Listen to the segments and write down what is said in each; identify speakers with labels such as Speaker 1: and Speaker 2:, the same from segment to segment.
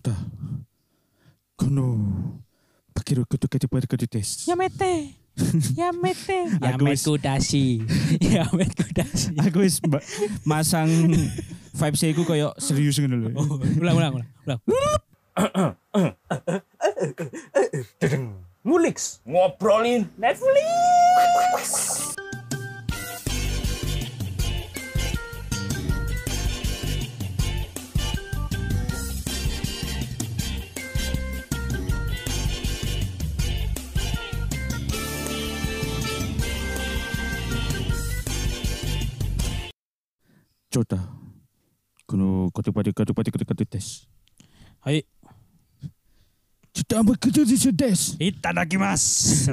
Speaker 1: たこのかけることができるです
Speaker 2: やめてやめて
Speaker 3: Ya
Speaker 1: Aku is-
Speaker 3: mekudasi. ya mekudasi.
Speaker 1: aku is ma- masang vibes ku koyo serius ngono lho
Speaker 3: Oh, ulang ulang ulang. ulang.
Speaker 4: Ngulix Ngobrolin Netflix
Speaker 1: cobaこのことができることです
Speaker 3: はい、
Speaker 1: ちょっとあんまことですです
Speaker 3: いただ きます。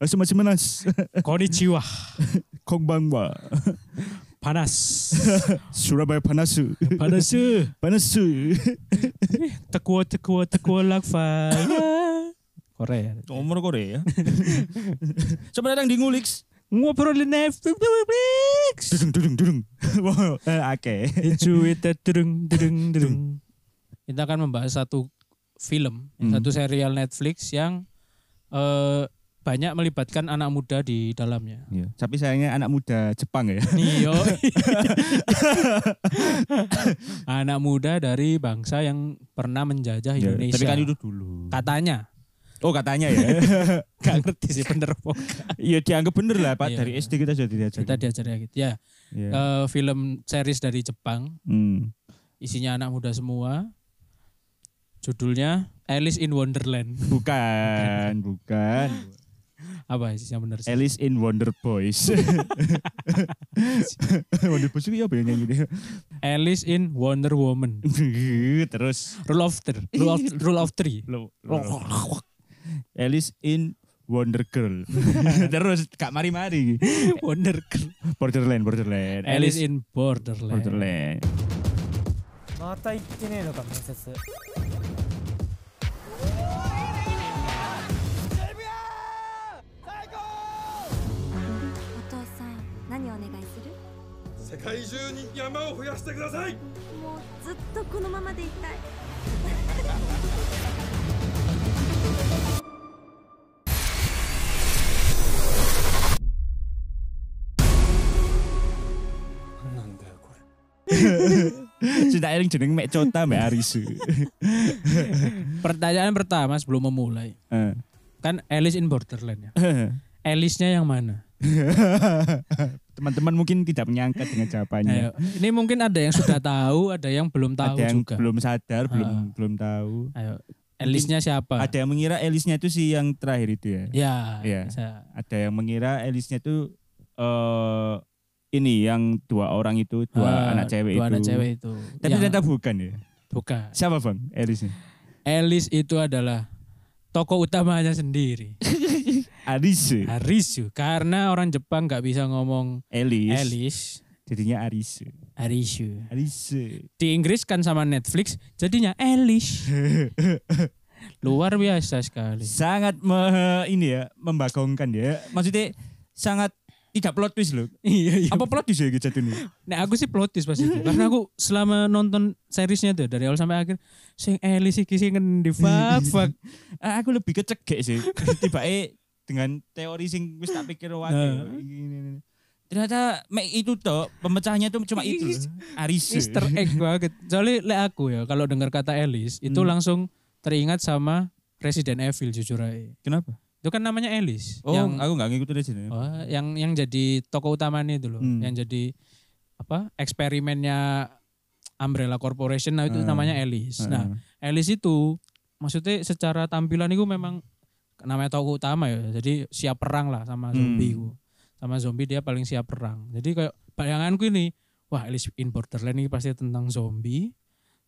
Speaker 1: あすませんます
Speaker 3: こんにちは。
Speaker 1: こんばんは
Speaker 3: パ ナス。
Speaker 1: Surabaya panas
Speaker 3: パナス。
Speaker 1: panas
Speaker 3: たこわたこわたこわラファイ。これ。
Speaker 1: nomor Korea selamat datang di Ngulix
Speaker 3: ngobrolin Netflix.
Speaker 1: dudung dudung dudung wow eh, oke
Speaker 3: Cuita dereng dereng dereng. Kita akan membahas satu film,
Speaker 1: Hmm.
Speaker 3: satu serial Netflix yang eh, banyak melibatkan anak muda di dalamnya.
Speaker 1: Iya, tapi sayangnya anak muda Jepang ya
Speaker 3: Iya. Anak muda dari bangsa yang pernah menjajah Indonesia.
Speaker 1: tapi kan itu dulu
Speaker 3: katanya.
Speaker 1: oh katanya ya
Speaker 3: Gak ngerti sih bener apa enggak.
Speaker 1: Iya dianggap bener lah Pak
Speaker 3: Iya.
Speaker 1: dari SD kita sudah diajarin.
Speaker 3: Kita diajarnya gitu. Ya,
Speaker 1: Iya.
Speaker 3: eh, film series dari Jepang,
Speaker 1: Hmm.
Speaker 3: isinya anak muda semua. Judulnya Alice in Wonderland.
Speaker 1: Bukan, bukan.
Speaker 3: Apa isinya bener sih?
Speaker 1: Alice in Wonder Boys. Wonder Boys itu iya, apa yang nyanyi dia?
Speaker 3: Alice in Wonder Woman.
Speaker 1: Terus
Speaker 3: Rule of Three. Rule of, rule of Three.
Speaker 1: lo, lo- Alice in Wonder Girl. Terus Kak mari-mari.
Speaker 3: Wonder Girl.
Speaker 1: Borderland, Borderland.
Speaker 3: Alice in Borderland.
Speaker 1: Borderland.
Speaker 5: また行ってねえのか面接
Speaker 6: お父さん何お願いす
Speaker 7: 世
Speaker 6: る
Speaker 7: 界中に山を増やしてください
Speaker 6: もうずっとこのままでいたい
Speaker 1: Cinta eling jeneng Mek Cota Mek Arisu.
Speaker 3: Pertanyaan pertama sebelum memulai.
Speaker 1: Eh.
Speaker 3: Kan Alice in Borderland ya. Alice-nya yang mana?
Speaker 1: Teman-teman mungkin tidak menyangka dengan jawabannya.
Speaker 3: Ayo. Ini mungkin ada yang sudah tahu, ada yang belum tahu
Speaker 1: Ada yang
Speaker 3: juga.
Speaker 1: belum sadar, belum
Speaker 3: Ah.
Speaker 1: belum tahu.
Speaker 3: Ayo. Alice-nya siapa?
Speaker 1: Ada yang mengira Elisnya itu si yang terakhir itu ya.
Speaker 3: Ya,
Speaker 1: Iya.
Speaker 3: bisa.
Speaker 1: Ada yang mengira Elisnya itu eh ini yang dua orang itu, dua
Speaker 3: Ah,
Speaker 1: anak cewek
Speaker 3: dua
Speaker 1: itu.
Speaker 3: anak cewek itu.
Speaker 1: Tapi
Speaker 3: Yang-
Speaker 1: ternyata bukan ya.
Speaker 3: bukan.
Speaker 1: Siapa bang Elisnya?
Speaker 3: Alice itu adalah tokoh utamanya sendiri.
Speaker 1: Aris.
Speaker 3: Ah. Arisu. Karena orang Jepang nggak bisa ngomong
Speaker 1: Elis.
Speaker 3: Alice.
Speaker 1: Jadinya Aris.
Speaker 3: Arisu.
Speaker 1: Aris.
Speaker 3: Di Inggris kan sama Netflix, jadinya Alice. Luar biasa sekali.
Speaker 1: Sangat me- ini ya membagongkan ya. Maksudnya sangat tidak plot twist loh.
Speaker 3: Iya, iya.
Speaker 1: Apa plot twist ya gitu ini?
Speaker 3: Nah aku sih plot twist pas itu karena aku selama nonton seriesnya tuh dari awal sampai akhir sing Alice iki sing
Speaker 1: Iya.
Speaker 3: ngendi fuck fuck.
Speaker 1: Ah, aku lebih kecegek sih tiba dengan teori sing wis tak pikir wae
Speaker 3: Nah.
Speaker 1: Ini- ini- ini. ternyata mek itu toh pemecahnya tuh cuma itu loh. Aris
Speaker 3: Easter egg banget. Soalnya lek aku ya kalau dengar kata Alice itu
Speaker 1: Hmm.
Speaker 3: langsung teringat sama Resident Evil jujur aja.
Speaker 1: kenapa
Speaker 3: Itu kan namanya Alice
Speaker 1: oh
Speaker 3: yang
Speaker 1: aku nggak ngikutin aja nih.
Speaker 3: oh, yang yang jadi tokoh utamanya itu loh,
Speaker 1: Gitu. Hmm.
Speaker 3: yang jadi apa eksperimennya Umbrella Corporation nah itu
Speaker 1: Ah.
Speaker 3: namanya Alice. Nah,
Speaker 1: Heeh.
Speaker 3: Alice itu maksudnya secara tampilan itu memang namanya tokoh utama ya. Jadi siap perang lah sama zombie
Speaker 1: Hmm.
Speaker 3: ku. Sama zombie dia paling siap perang. Jadi kayak bayanganku ini, wah Alice in Borderland ini pasti tentang zombie.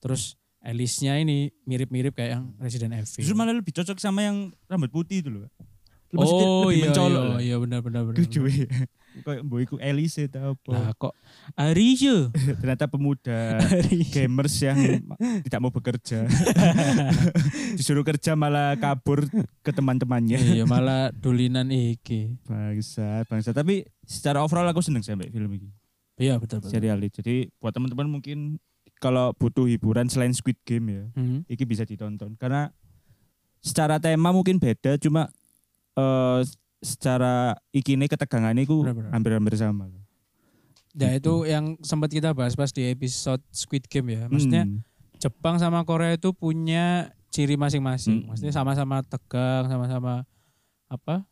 Speaker 3: Terus Alice-nya ini mirip-mirip kayak yang Resident
Speaker 1: justru
Speaker 3: Evil.
Speaker 1: malah lebih cocok sama yang rambut putih itu loh
Speaker 3: oh
Speaker 1: lebih
Speaker 3: iya,
Speaker 1: mencolok
Speaker 3: iya,
Speaker 1: lah.
Speaker 3: iya benar benar benar.
Speaker 1: Lucu ya. kayak mbok iku Alice tau
Speaker 3: Lah
Speaker 1: apa
Speaker 3: kok Arijo?
Speaker 1: ternyata pemuda gamers yang ma- tidak mau bekerja disuruh kerja malah kabur ke teman-temannya
Speaker 3: iya malah dolinan iki.
Speaker 1: Bangsa, bangsa. Tapi secara overall aku seneng sih mbak film ini.
Speaker 3: Iya betul betul.
Speaker 1: Serial ini. Jadi buat teman-teman mungkin kalau butuh hiburan selain Squid Game ya,
Speaker 3: Hmm.
Speaker 1: iki bisa ditonton karena secara tema mungkin beda cuma eh secara ikine ketegangannya ku
Speaker 3: Bener, bener.
Speaker 1: hampir-hampir sama.
Speaker 3: Ya
Speaker 1: Gitu.
Speaker 3: itu yang sempat kita bahas pas di episode Squid Game ya. Maksudnya
Speaker 1: Hmm.
Speaker 3: Jepang sama Korea itu punya ciri
Speaker 1: Mm.
Speaker 3: masing-masing. Maksudnya sama-sama tegang, sama-sama apa?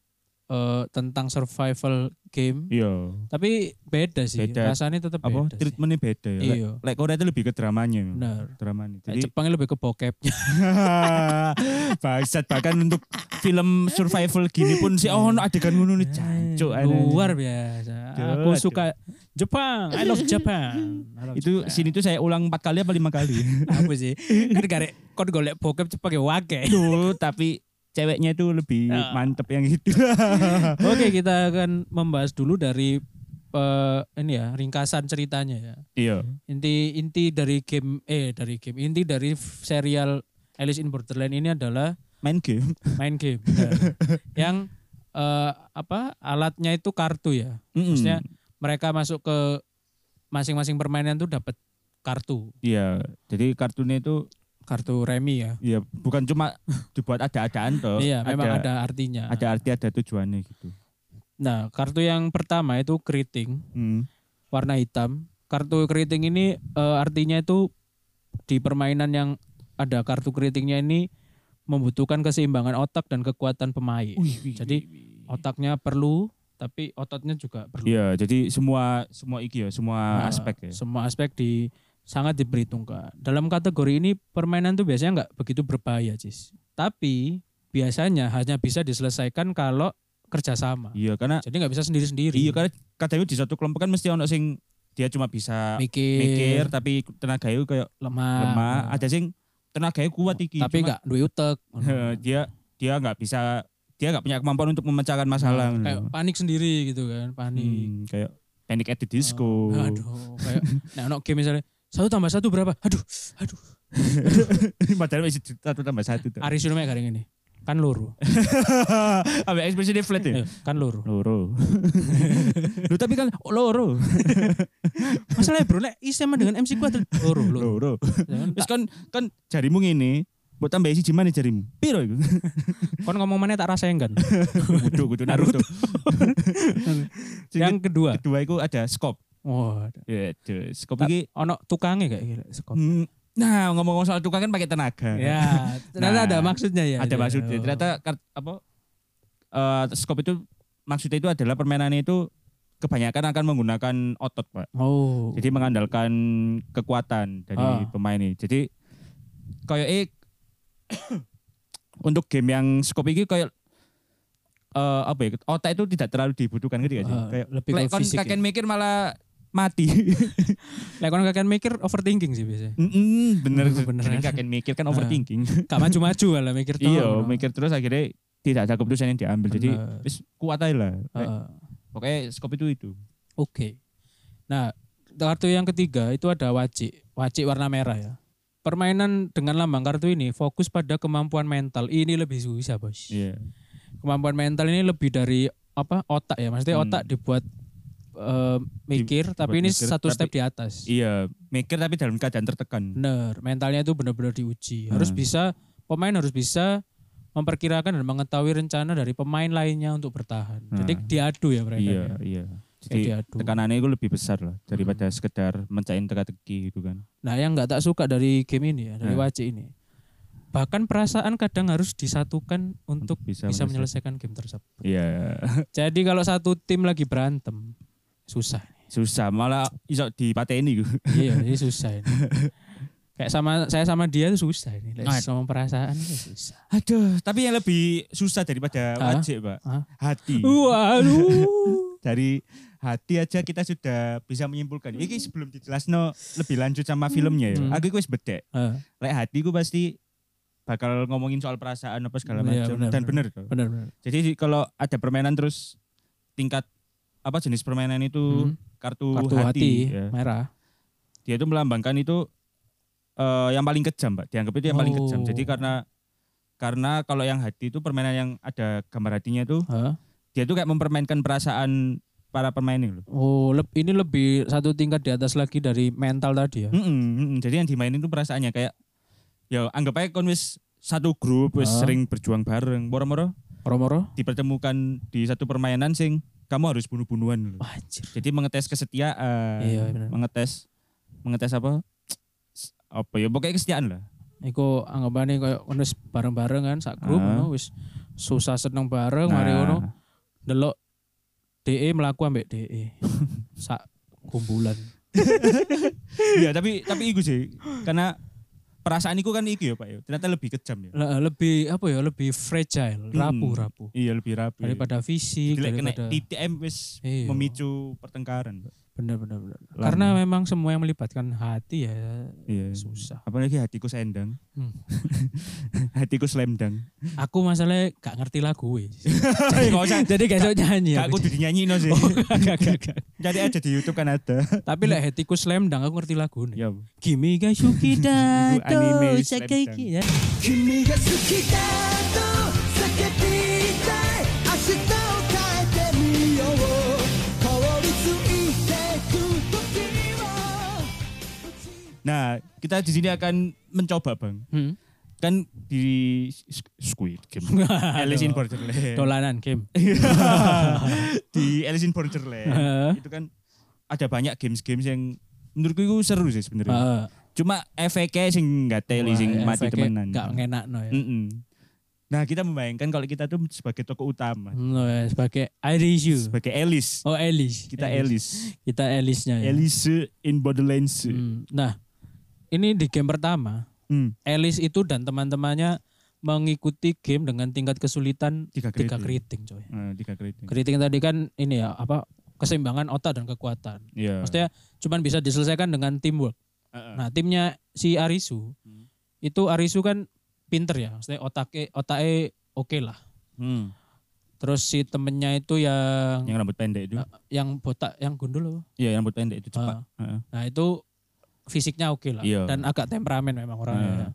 Speaker 3: eh tentang survival game.
Speaker 1: iya.
Speaker 3: Tapi beda sih.
Speaker 1: Beda.
Speaker 3: Rasanya tetap
Speaker 1: Apa
Speaker 3: beda. sih.
Speaker 1: treatmentnya beda ya. Lek-
Speaker 3: Iya.
Speaker 1: Lek Korea itu lebih ke dramanya.
Speaker 3: Benar.
Speaker 1: Dramanya.
Speaker 3: Kayak
Speaker 1: Jadi
Speaker 3: Jepangnya lebih ke bokepnya.
Speaker 1: Bangsat bahkan untuk film survival gini pun sih oh no adegan ngono nih jancuk
Speaker 3: Luar biasa.
Speaker 1: Aduh,
Speaker 3: Aku
Speaker 1: aduh.
Speaker 3: suka Jepang. I love Japan. I love
Speaker 1: Itu
Speaker 3: Japan.
Speaker 1: sini tuh saya ulang empat kali apa lima kali.
Speaker 3: apa sih? Kan garek kon golek bokep Jepang ya wake.
Speaker 1: Duh, tapi ceweknya itu lebih
Speaker 3: Ah.
Speaker 1: mantep yang itu.
Speaker 3: Oke, kita akan membahas dulu dari eh, ini ya, ringkasan ceritanya ya.
Speaker 1: iya.
Speaker 3: Inti inti dari game eh dari game inti dari f- serial Alice in Borderland ini adalah
Speaker 1: Main game.
Speaker 3: main game Benar. yang eh, apa alatnya itu kartu ya.
Speaker 1: Mm-mm.
Speaker 3: Maksudnya mereka masuk ke masing-masing permainan tuh dapat kartu
Speaker 1: Iya, jadi kartunnya itu
Speaker 3: kartu remi ya.
Speaker 1: ya bukan cuma dibuat ada-adaan toh.
Speaker 3: iya, memang ada
Speaker 1: Oh,
Speaker 3: artinya.
Speaker 1: ada arti ada tujuannya gitu.
Speaker 3: Nah, kartu yang pertama itu keriting.
Speaker 1: Hmm.
Speaker 3: warna hitam. Kartu keriting ini eh, artinya itu di permainan yang ada kartu keritingnya ini membutuhkan keseimbangan otak dan kekuatan pemain. Jadi otaknya perlu tapi ototnya juga perlu.
Speaker 1: Iya, jadi semua semua iki ya, semua
Speaker 3: Nah,
Speaker 1: aspek ya.
Speaker 3: Semua aspek di sangat diperhitungkan. Dalam kategori ini permainan tuh biasanya nggak begitu berbahaya, Cis. Tapi biasanya hanya bisa diselesaikan kalau kerjasama.
Speaker 1: Iya, karena
Speaker 3: Jadi nggak bisa sendiri-sendiri.
Speaker 1: iya karena kadang di satu kelompok kan mesti ono sing dia cuma bisa mikir,
Speaker 3: mikir,
Speaker 1: tapi tenaganya kayak
Speaker 3: lemah,
Speaker 1: lemah. Ada sing tenaganya kuat iki.
Speaker 3: tapi
Speaker 1: cuma
Speaker 3: nggak duit utek.
Speaker 1: dia dia nggak bisa dia nggak punya kemampuan untuk memecahkan masalah.
Speaker 3: Nah, kayak panik sendiri gitu kan panik
Speaker 1: Hmm, kayak Panic at the Disco.
Speaker 3: Ah, aduh kayak nah no game misalnya satu tambah satu berapa aduh aduh
Speaker 1: Padahal masih satu tambah satu. tuh.
Speaker 3: Ari Sunumek garing ini kan loro
Speaker 1: Ambil ekspresi dia flat ya.
Speaker 3: Eh, kan loro
Speaker 1: Loro. Lu tapi kan oh, loro.
Speaker 3: masalahnya bro nek I sama dengan MC kuat loro loro
Speaker 1: Loro.
Speaker 3: Jangan
Speaker 1: Terus
Speaker 3: tak-
Speaker 1: kan kan jarimu ngene, buat tambah isi gimana jarimu? Piro iku?
Speaker 3: kon ngomong mana tak rasa kan
Speaker 1: Kudu kudu Naruto.
Speaker 3: yang kedua
Speaker 1: kedua iku ada scope.
Speaker 3: wah ada.
Speaker 1: Ya, aduh, scope
Speaker 3: Tak-
Speaker 1: iki
Speaker 3: ono tukangnya kayak gila sekop
Speaker 1: Hmm, Nah, ngomong-ngomong soal tukang kan pakai tenaga.
Speaker 3: ya ternyata
Speaker 1: Nah,
Speaker 3: ada maksudnya ya
Speaker 1: ada maksudnya. Ternyata kart, apa eh scope itu maksudnya itu adalah permainannya itu kebanyakan akan menggunakan otot, Pak.
Speaker 3: oh
Speaker 1: Jadi mengandalkan kekuatan dari
Speaker 3: Ah.
Speaker 1: pemain ini. Jadi kayak eh, untuk game yang scope ini kayak eh apa ya? Otak itu tidak terlalu dibutuhkan gitu ya. sih?
Speaker 3: Ah,
Speaker 1: kayak
Speaker 3: lebih ke
Speaker 1: lek kon
Speaker 3: fisik ya.
Speaker 1: kakek mikir malah mati.
Speaker 3: lek kon kakek mikir overthinking sih biasanya
Speaker 1: Mm-mm, bener
Speaker 3: Bener. Ah.
Speaker 1: bener kakek mikir kan overthinking.
Speaker 3: gak maju-maju lah mikir tuh
Speaker 1: iya, mikir terus akhirnya tidak ada keputusan yang diambil. Jadi
Speaker 3: Bener.
Speaker 1: wis kuat aja lah. Lek-
Speaker 3: Heeh.
Speaker 1: Pokoknya scope itu itu.
Speaker 3: Oke. Nah, kartu yang ketiga itu ada wajik. Wajik warna merah ya. Permainan dengan lambang kartu ini fokus pada kemampuan mental. Ini lebih susah, Bos.
Speaker 1: Iya.
Speaker 3: Kemampuan mental ini lebih dari apa? otak ya. Maksudnya
Speaker 1: Hmm.
Speaker 3: otak dibuat eh, mikir, tapi ini
Speaker 1: mikir,
Speaker 3: satu
Speaker 1: tapi-
Speaker 3: step di atas.
Speaker 1: Iya, mikir tapi dalam keadaan tertekan.
Speaker 3: Bener, mentalnya itu benar-benar diuji. Harus
Speaker 1: Hmm.
Speaker 3: bisa pemain harus bisa memperkirakan dan mengetahui rencana dari pemain lainnya untuk bertahan. Jadi
Speaker 1: Nah.
Speaker 3: diadu ya mereka.
Speaker 1: Iya,
Speaker 3: ya.
Speaker 1: iya. Jadi
Speaker 3: diadu.
Speaker 1: tekanannya itu lebih besar lah daripada sekedar mencain teka-teki gitu kan.
Speaker 3: Nah, yang nggak tak suka dari game ini ya, dari
Speaker 1: Nah.
Speaker 3: wajik ini. Bahkan perasaan kadang harus disatukan untuk bisa,
Speaker 1: bisa
Speaker 3: menyelesaikan game tersebut.
Speaker 1: Iya,
Speaker 3: Jadi kalau satu tim lagi berantem, susah.
Speaker 1: susah malah iso dipateni gitu.
Speaker 3: iya, ini susah ini. Kayak sama saya sama dia itu susah ini. Like,
Speaker 1: Aduh.
Speaker 3: sama perasaan itu susah.
Speaker 1: Aduh, tapi yang lebih susah daripada
Speaker 3: Hah?
Speaker 1: wajib, Pak.
Speaker 3: Hah? Iya.
Speaker 1: Hati.
Speaker 3: Uh. Waduh.
Speaker 1: Dari hati aja kita sudah bisa menyimpulkan. Ini sebelum dijelasno lebih lanjut sama filmnya ya.
Speaker 3: Hmm.
Speaker 1: Aku iku wis bedek.
Speaker 3: Eh,
Speaker 1: Lek hati ku pasti bakal ngomongin soal perasaan apa segala
Speaker 3: Iya,
Speaker 1: macam
Speaker 3: benar,
Speaker 1: dan
Speaker 3: benar.
Speaker 1: bener. tuh.
Speaker 3: benar benar.
Speaker 1: Jadi kalau ada permainan terus tingkat apa jenis permainan itu
Speaker 3: Hmm.
Speaker 1: kartu,
Speaker 3: Kartu hati,
Speaker 1: hati, ya.
Speaker 3: merah.
Speaker 1: dia itu melambangkan itu eh, yang paling kejam, Pak. Dianggap itu yang paling kejam.
Speaker 3: Oh.
Speaker 1: Jadi karena karena kalau yang hati itu permainan yang ada gambar hatinya itu
Speaker 3: Hah?
Speaker 1: dia itu kayak mempermainkan perasaan para pemain ini loh.
Speaker 3: Oh, leb- ini lebih satu tingkat di atas lagi dari mental tadi ya.
Speaker 1: Mm-mm, mm-mm. Jadi yang dimainin itu perasaannya kayak ya anggap aja kon wis satu grup wis
Speaker 3: Ah.
Speaker 1: sering berjuang bareng moro-moro
Speaker 3: Moro-moro.
Speaker 1: dipertemukan di satu permainan sing kamu harus bunuh-bunuhan loh.
Speaker 3: Anjir.
Speaker 1: Jadi mengetes kesetiaan,
Speaker 3: Iya, benar.
Speaker 1: mengetes mengetes apa? Apa ya pokoknya kesetiaan lah.
Speaker 3: Iku anggapannya kayak ono wis bareng-bareng kan sak grup
Speaker 1: Ah.
Speaker 3: ono wis susah seneng bareng mari
Speaker 1: Nah.
Speaker 3: ono delok DE melaku E ambek DE. sak kumpulan.
Speaker 1: Iya, tapi tapi iku sih karena perasaan iku kan iku ya, Pak ya. Ternyata lebih kejam ya.
Speaker 3: Le- lebih apa ya lebih fragile,
Speaker 1: Hmm.
Speaker 3: rapuh-rapuh
Speaker 1: Iya, lebih rapi.
Speaker 3: daripada fisik
Speaker 1: Jadi kena
Speaker 3: daripada
Speaker 1: titik em wis
Speaker 3: Iya.
Speaker 1: memicu pertengkaran, Pak.
Speaker 3: benar-benar benar.
Speaker 1: Lama.
Speaker 3: Karena memang semua yang melibatkan hati ya
Speaker 1: Iya.
Speaker 3: susah.
Speaker 1: Apalagi hatiku sendang.
Speaker 3: Hmm.
Speaker 1: hatiku slemdang.
Speaker 3: Aku masalahnya gak ngerti lagu wis.
Speaker 1: Gak usah.
Speaker 3: Jadi gak iso nyanyi
Speaker 1: Gak
Speaker 3: aku.
Speaker 1: kudu dinyanyi no sih.
Speaker 3: Oh, Gak, gak, gak.
Speaker 1: Cari aja di YouTube kan ada.
Speaker 3: Tapi lek hatiku slam dang aku ngerti lagu nih.
Speaker 1: Ya.
Speaker 3: Kimi ga shuki da
Speaker 1: Itu anime slam
Speaker 3: to sakai
Speaker 1: dunk.
Speaker 3: ki ya.
Speaker 8: 君が好きだと叫びたい明日を変えてみよう凍りついてく時を
Speaker 1: Nah, kita di sini akan mencoba, Bang.
Speaker 3: Hmm.
Speaker 1: Kan di Squid Game. Alice in Borderland.
Speaker 3: Dolanan Eh, game.
Speaker 1: di Alice in Borderland.
Speaker 3: Heeh.
Speaker 1: itu kan ada banyak games-games yang menurutku itu seru sih sebenarnya.
Speaker 3: eh,
Speaker 1: Cuma efeknya sing nggak teli
Speaker 3: iya,
Speaker 1: sing Iya. mati
Speaker 3: E
Speaker 1: temenan. Hmm.
Speaker 3: Gak ngenakno ya.
Speaker 1: Mm-mm. Nah, kita membayangkan kalau kita tuh sebagai tokoh utama,
Speaker 3: No, ya, sebagai Irish you.
Speaker 1: sebagai Alice.
Speaker 3: Oh Elis.
Speaker 1: Kita Alice.
Speaker 3: Kita Elisnya ya.
Speaker 1: Alice in Borderlands.
Speaker 3: Hmm. Nah, ini di game pertama,
Speaker 1: Hmm,
Speaker 3: Elis itu dan teman-temannya mengikuti game dengan tingkat kesulitan
Speaker 1: Tiga
Speaker 3: tiga
Speaker 1: keriting.
Speaker 3: keriting, coy.
Speaker 1: eh, tiga keriting.
Speaker 3: Keriting tadi kan ini ya, apa keseimbangan otak dan kekuatan.
Speaker 1: Iya.
Speaker 3: Maksudnya cuman bisa diselesaikan dengan teamwork.
Speaker 1: Heeh. Hmm.
Speaker 3: Nah, timnya si Arisu itu Arisu kan pinter ya, maksudnya otaknya otaknya oke lah.
Speaker 1: Hmm,
Speaker 3: Terus si temennya itu yang
Speaker 1: Yang
Speaker 3: eh,
Speaker 1: rambut pendek itu.
Speaker 3: yang botak, yang gundul loh.
Speaker 1: Iya, yang rambut pendek itu cepat. Heeh.
Speaker 3: Nah itu fisiknya oke lah
Speaker 1: Iya.
Speaker 3: dan agak temperamen memang orangnya.
Speaker 1: Iya.
Speaker 3: ya.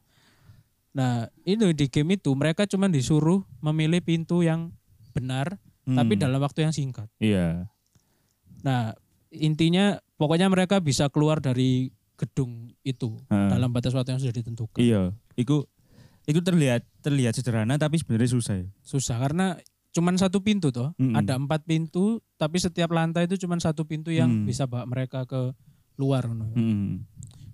Speaker 3: Nah ini di game itu mereka cuma disuruh memilih pintu yang benar tapi
Speaker 1: Hmm,
Speaker 3: dalam waktu yang singkat.
Speaker 1: Iya.
Speaker 3: Nah intinya pokoknya mereka bisa keluar dari gedung itu
Speaker 1: Heeh.
Speaker 3: dalam batas waktu yang sudah ditentukan.
Speaker 1: Iya, iku itu terlihat terlihat sederhana tapi sebenarnya susah ya.
Speaker 3: Susah karena cuman satu pintu toh
Speaker 1: Mm-mm.
Speaker 3: ada empat pintu tapi setiap lantai itu cuman satu pintu yang
Speaker 1: Mm.
Speaker 3: bisa bawa mereka ke luar. ngono.
Speaker 1: Hmm.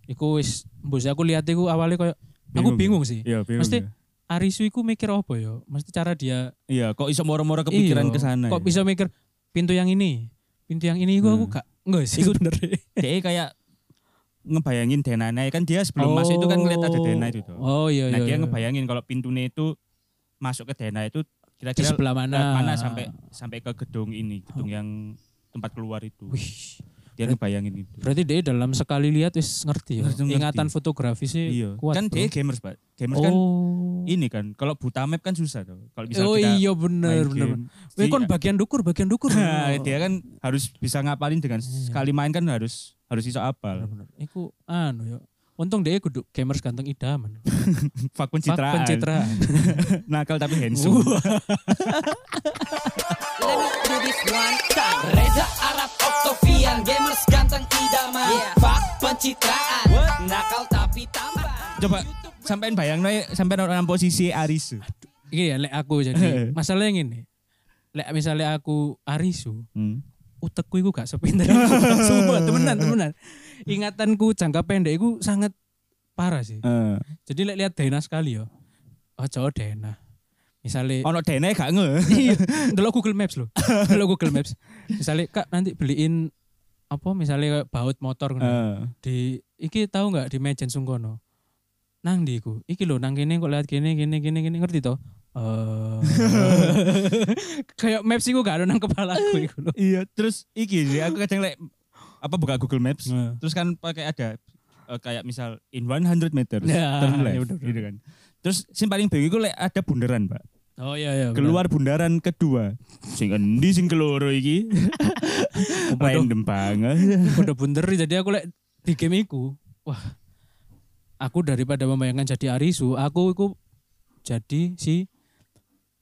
Speaker 3: Iku wis mbok sih aku lihat iku awalnya kayak aku
Speaker 1: Bingung
Speaker 3: bingung sih.
Speaker 1: Iya, bingung.
Speaker 3: Mesti-
Speaker 1: ya.
Speaker 3: Arisu iku mikir apa ya? Mesti cara dia
Speaker 1: Iya, kok iso moro-moro kepikiran
Speaker 3: Iya,
Speaker 1: ke sana. ya?
Speaker 3: Kok bisa mikir pintu yang ini, pintu yang ini iku aku
Speaker 1: Hmm.
Speaker 3: gak enggak sih
Speaker 1: Iku-
Speaker 3: sebenarnya.
Speaker 1: Dia kayak ngebayangin denanya kan dia sebelum masuk itu kan ngeliat ada dena itu tuh.
Speaker 3: Oh iya
Speaker 1: nah,
Speaker 3: iya.
Speaker 1: dia
Speaker 3: iya.
Speaker 1: ngebayangin kalau pintunya itu masuk ke dena itu
Speaker 3: di
Speaker 1: kira-kira
Speaker 3: sebelah mana?
Speaker 1: lewat mana sampai sampai ke gedung ini, gedung yang tempat keluar itu.
Speaker 3: Wih.
Speaker 1: Dia ngebayangin itu.
Speaker 3: Berarti dia dalam sekali lihat wis ngerti ya.
Speaker 1: Ngerti, ngerti.
Speaker 3: Ingatan fotografi sih
Speaker 1: Iya.
Speaker 3: kuat.
Speaker 1: kan
Speaker 3: bro.
Speaker 1: dia gamers, Pak. Gamers
Speaker 3: Oh.
Speaker 1: kan ini kan kalau buta map kan susah tuh. Kalau bisa
Speaker 3: oh
Speaker 1: kita
Speaker 3: iya
Speaker 1: main
Speaker 3: bener bener.
Speaker 1: game. Iya.
Speaker 3: bener. Wih
Speaker 1: Jadi-
Speaker 3: kon bagian dukur, bagian dukur.
Speaker 1: Nah, dia kan harus bisa ngapalin dengan
Speaker 3: Iya.
Speaker 1: sekali main kan harus harus bisa apal.
Speaker 3: Bener-bener. Iku anu ya. Untung dia kudu gamers ganteng idaman.
Speaker 1: Fak
Speaker 3: Fuck,
Speaker 1: pencitraan.
Speaker 3: Pencitraan.
Speaker 1: Nakal tapi handsome.
Speaker 8: Let me do this one time Reza Arab Octavian Gamers ganteng idaman Fuck pencitraan Nakal tapi tampan
Speaker 1: Coba sampein bayang sampein orang posisi Aris.
Speaker 3: Iya, lek aku jadi masalahnya gini. Lek misalnya aku Arisu,
Speaker 1: Hmm.
Speaker 3: utekku iku gak sepinter iku. Sumpah, temenan, temenan. Ingatanku jangka pendek iku sangat parah sih.
Speaker 1: Eh,
Speaker 3: Jadi lek lihat Dena sekali ya. Oh, jauh Dena. Misalnya
Speaker 1: ono dene gak nge.
Speaker 3: iya, delok Google Maps loh. Delok Google Maps. Misalnya Kak nanti beliin apa misalnya kayak baut motor ngono.
Speaker 1: Eh,
Speaker 3: di iki tahu nggak di Mejen Sungkono nang di iku iki lho nang kene kok lihat kene kene kene kene ngerti toh Eh, kayak maps iku gak ada nang kepala aku iku lho
Speaker 1: iya, terus iki sih aku kadang lek apa buka Google Maps, terus kan pakai ada eh, kayak misal in 100 meters
Speaker 3: Ya,
Speaker 1: turn left
Speaker 3: ya bener-bener.
Speaker 1: gitu kan. Terus sing paling bingung iku lek ada bundaran, Pak.
Speaker 3: oh iya iya
Speaker 1: keluar bundaran kedua sing endi sing keloro iki random banget
Speaker 3: udah bunder jadi aku lek di game iku wah aku daripada membayangkan jadi Arisu aku iku jadi si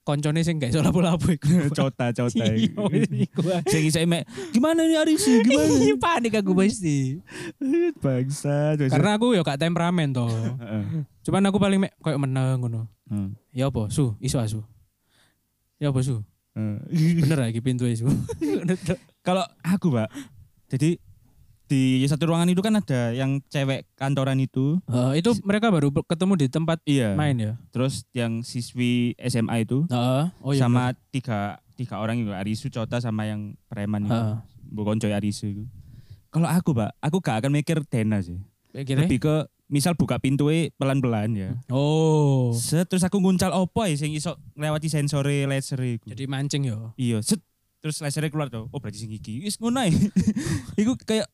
Speaker 3: koncone sing gak iso lapo-lapo iku.
Speaker 1: Cota, cota.
Speaker 3: Iya, iku. Sing iso emek, gimana nih Arisi? Gimana? Iya, Panik aku pasti.
Speaker 1: Bangsa. terus-
Speaker 3: Karena aku ya gak temperamen toh.
Speaker 1: Heeh.
Speaker 3: Cuman aku paling mek koyo meneng ngono.
Speaker 1: Heeh.
Speaker 3: Ya apa, Su? Iso asu. Ya apa, Su?
Speaker 1: Heeh.
Speaker 3: Bener lagi pintu Su. Eh,
Speaker 1: Kalau aku pak, jadi di satu ruangan itu kan ada yang cewek kantoran itu,
Speaker 3: Eh, itu mereka baru be- ketemu di tempat
Speaker 1: iya.
Speaker 3: main ya.
Speaker 1: Terus yang siswi SMA itu
Speaker 3: Heeh. Oh iya.
Speaker 1: sama tiga tiga orang itu Arisu, Cota sama yang preman itu,
Speaker 3: Heeh.
Speaker 1: bukan coy Arisu itu. Kalau aku pak, aku gak akan mikir dena sih.
Speaker 3: Kayak gini.
Speaker 1: Lebih ke misal buka pintu pelan-pelan ya.
Speaker 3: Oh.
Speaker 1: Set, terus aku nguncal opo ya sing iso nglewati sensore laser e iku.
Speaker 3: Jadi mancing ya.
Speaker 1: Iya, set terus lasernya keluar tuh. Oh, berarti sing iki wis ngono ae. Iku kayak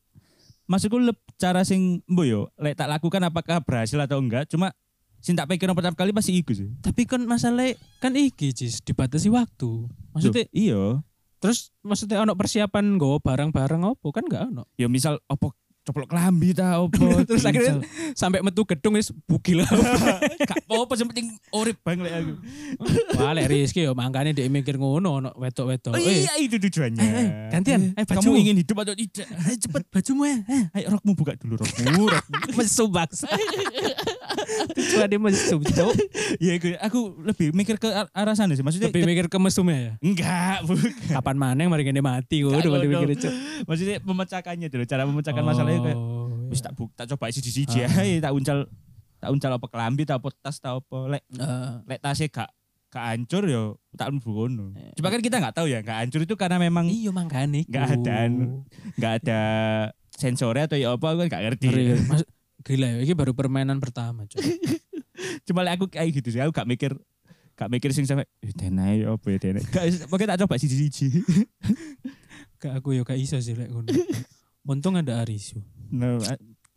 Speaker 1: maksudku leb, cara sing mbo yo lek tak lakukan apakah berhasil atau enggak, cuma sing tak pikir pertama kali pasti iku sih.
Speaker 3: Tapi kan masalahnya kan iki Jis, dibatasi waktu.
Speaker 1: Loh,
Speaker 3: Maksudnya
Speaker 1: iya.
Speaker 3: terus maksudnya ono persiapan nggawa barang-barang opo kan enggak ono.
Speaker 1: Ya misal opo coplok kelambi ta opo
Speaker 3: terus akhirnya sampai metu gedung wis bugil.
Speaker 1: gak apa-apa sing penting urip bang lek aku.
Speaker 3: Wah, lek Rizky yo mangkane dhek mikir ngono ono wetok-wetok.
Speaker 1: Oh,
Speaker 3: Eh,
Speaker 1: iya itu tujuannya.
Speaker 3: eh, eh, gantian. Eh,
Speaker 1: Kamu
Speaker 3: bajumu. Eh,
Speaker 1: ingin hidup atau tidak? Ayo cepet bajumu ya. Ayo rokmu buka dulu rokmu. rokmu.
Speaker 3: mesu baksa. Tujuannya mesu, Cuk.
Speaker 1: ya aku, aku lebih mikir ke ar- arah sana sih. Maksudnya
Speaker 3: Tapi mikir ke mesumnya ya.
Speaker 1: enggak, bukan.
Speaker 3: Kapan maneng mari kene mati kok udah mati
Speaker 1: Ngono.
Speaker 3: mikir Cuk. Oh,
Speaker 1: Maksudnya memecahkannya dulu, cara memecahkan masalahnya kayak
Speaker 3: iya.
Speaker 1: wis tak buk, tak coba siji-siji
Speaker 3: Ah.
Speaker 1: ae, tak uncal tak uncal apa kelambi, tak apa tas, tak apa lek
Speaker 3: Eh,
Speaker 1: lek tasnya gak gak hancur ya tak mlebu kono.
Speaker 3: Eh.
Speaker 1: Cuma kan kita nggak tahu ya, gak hancur itu karena memang
Speaker 3: iya mangkane.
Speaker 1: nggak ada anu, nggak ada sensornya atau ya apa aku kan gak ngerti.
Speaker 3: Ngeri, Mas, gila ya, ini baru permainan pertama. Cuk.
Speaker 1: Cuma lek aku kayak gitu sih, aku gak mikir gak mikir sing sampe eh denai apa ya denai. Gak pokoknya tak coba siji-siji.
Speaker 3: Gak aku ya gak iso sih lek ngono. Untung ada Arisu.
Speaker 1: Nah,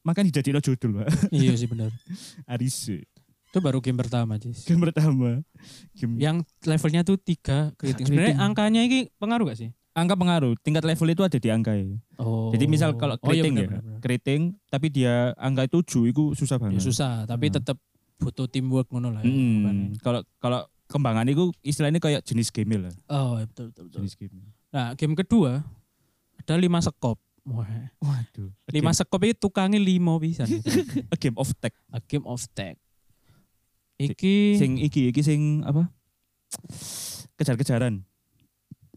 Speaker 1: makan dijadiin judul, Pak.
Speaker 3: iya sih benar.
Speaker 1: Arise.
Speaker 3: Itu baru game pertama, Jis.
Speaker 1: Game pertama. Game
Speaker 3: Yang levelnya tuh tiga keriting. Sebenarnya
Speaker 1: Keriting.
Speaker 3: angkanya ini pengaruh gak sih?
Speaker 1: angka pengaruh tingkat level itu ada di angka ya.
Speaker 3: Oh.
Speaker 1: jadi misal kalau
Speaker 3: Oh, iya,
Speaker 1: keriting
Speaker 3: benar,
Speaker 1: ya
Speaker 3: benar, benar.
Speaker 1: keriting tapi dia angka itu 7 itu susah
Speaker 3: Ya,
Speaker 1: banget
Speaker 3: susah, tapi
Speaker 1: Hmm.
Speaker 3: tetap butuh teamwork ngono lah. ya,
Speaker 1: Mm,
Speaker 3: makanya.
Speaker 1: kalau kalau kembangan itu istilahnya kayak jenis game lah
Speaker 3: Oh, iya, betul, betul, betul.
Speaker 1: jenis game
Speaker 3: Nah, game kedua ada lima sekop. Wah.
Speaker 1: waduh A
Speaker 3: Lima
Speaker 1: game-
Speaker 3: sekop itu tukangnya lima bisa.
Speaker 1: a game of tech
Speaker 3: A game of tag. Iki
Speaker 1: sing iki iki sing apa kejar-kejaran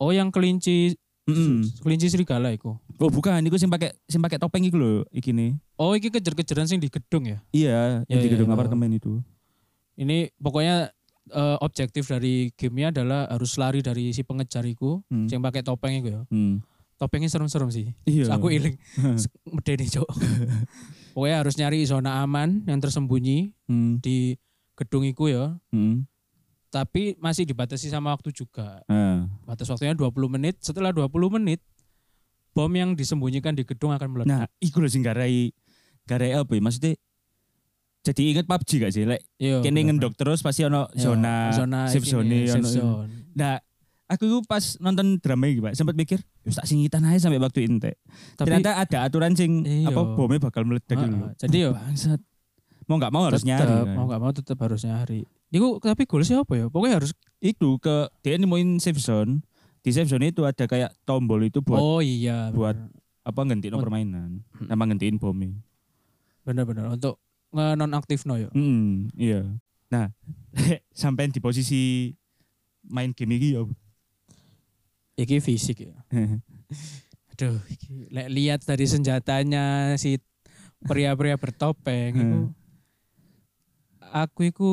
Speaker 3: oh yang kelinci
Speaker 1: Mm-mm.
Speaker 3: kelinci serigala iku.
Speaker 1: oh bukan itu sing pakai sing pakai topeng iki lho iki nih
Speaker 3: Oh, iki kejer-kejeran sing di gedung ya.
Speaker 1: iya yang
Speaker 3: Ya,
Speaker 1: di
Speaker 3: ya,
Speaker 1: gedung
Speaker 3: ya.
Speaker 1: apartemen itu
Speaker 3: Ini pokoknya eh, objektif dari gamenya adalah harus lari dari si pengejar iku
Speaker 1: Hmm.
Speaker 3: yang pakai topeng iku ya.
Speaker 1: Hmm.
Speaker 3: Topengnya serem-serem sih.
Speaker 1: Iya.
Speaker 3: Aku iling. Medeni, Cok. pokoknya harus nyari zona aman yang tersembunyi
Speaker 1: Hmm,
Speaker 3: di gedung iku ya.
Speaker 1: hmm.
Speaker 3: Tapi masih dibatasi sama waktu juga.
Speaker 1: Ah.
Speaker 3: Batas waktunya 20 menit. Setelah 20 menit bom yang disembunyikan di gedung akan meledak.
Speaker 1: Nah, iku lho sing garai garai apa ya? Maksudnya jadi inget PUBG gak sih? Lek
Speaker 3: Iya,
Speaker 1: kene
Speaker 3: bener.
Speaker 1: ngendok terus pasti ono
Speaker 3: Iya,
Speaker 1: zona, safe
Speaker 3: iki
Speaker 1: zone,
Speaker 3: nih, safe
Speaker 1: ono.
Speaker 3: zone.
Speaker 1: Nah, aku itu pas nonton drama iki, Pak, sempat mikir, "Yus, tak singitan aja sampai waktu entek."
Speaker 3: Tapi
Speaker 1: Ternyata ada aturan sing
Speaker 3: Iya.
Speaker 1: apa bomnya bakal meledak
Speaker 3: Heeh,
Speaker 1: gitu lho.
Speaker 3: jadi ya
Speaker 1: bangsat. Mau nggak mau harus
Speaker 3: tetep,
Speaker 1: nyari. kan.
Speaker 3: Mau gak mau tetap harus nyari. Iku tapi goalsnya apa ya? Pokoknya harus
Speaker 1: Itu ke dia nemuin safe zone. Di safe zone itu ada kayak tombol itu buat
Speaker 3: Oh iya.
Speaker 1: buat apa ngentiin
Speaker 3: Oh.
Speaker 1: permainan, sama ngentiin bomnya.
Speaker 3: benar-benar untuk non aktif no ya.
Speaker 1: Mm, iya. Nah, sampai di posisi main game ini ya.
Speaker 3: Iki fisik ya. Aduh, iki, lek lihat dari senjatanya si pria-pria bertopeng
Speaker 1: Hmm.
Speaker 3: iku aku iku